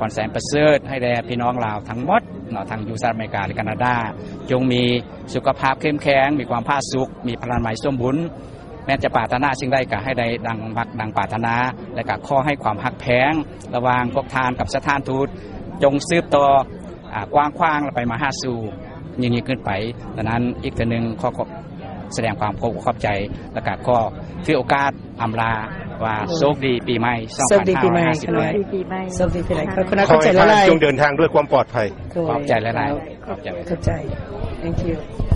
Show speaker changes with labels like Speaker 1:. Speaker 1: ก่อนแสนประเสริฐให้แด่พี่น้องลาวทั้งหมดเนาะทั้งอยูสหรัฐอเมริกาและแคนาดา จงมีสุขภาพเข้มแข็งมีความผาสุกมีพลังใหม่สมบุญแม้จะปรารถนาสิ่งใดก็ให้ได้ดังมักดังปรารถนา และก็ข้อให้ความหักแพงระหว่างพวกทานกับสถานทูตจงซืบต่ออ่ากว้างขว้างและไปมาหาสู่ยิ่งยิ่งขึ้นไปดังนั้นอีกเทีหนึ่งข้อขอแสดงความขอบขอบใจและก็ข้อถือโอกาสอำลาว่าโชคดีปีใหม่
Speaker 2: โชคดีปีใหม่
Speaker 1: 2550ด้วย
Speaker 3: ดีปีใหม่
Speaker 2: สวัสดีพี่ไหนขอบคุณนะ
Speaker 3: ข
Speaker 2: ขอบใจละ
Speaker 3: ให้
Speaker 2: ลาย
Speaker 4: จงเดินทางด้วยความปลอดภัย
Speaker 1: ขอบใจละลาย
Speaker 2: ขอบใจ thank you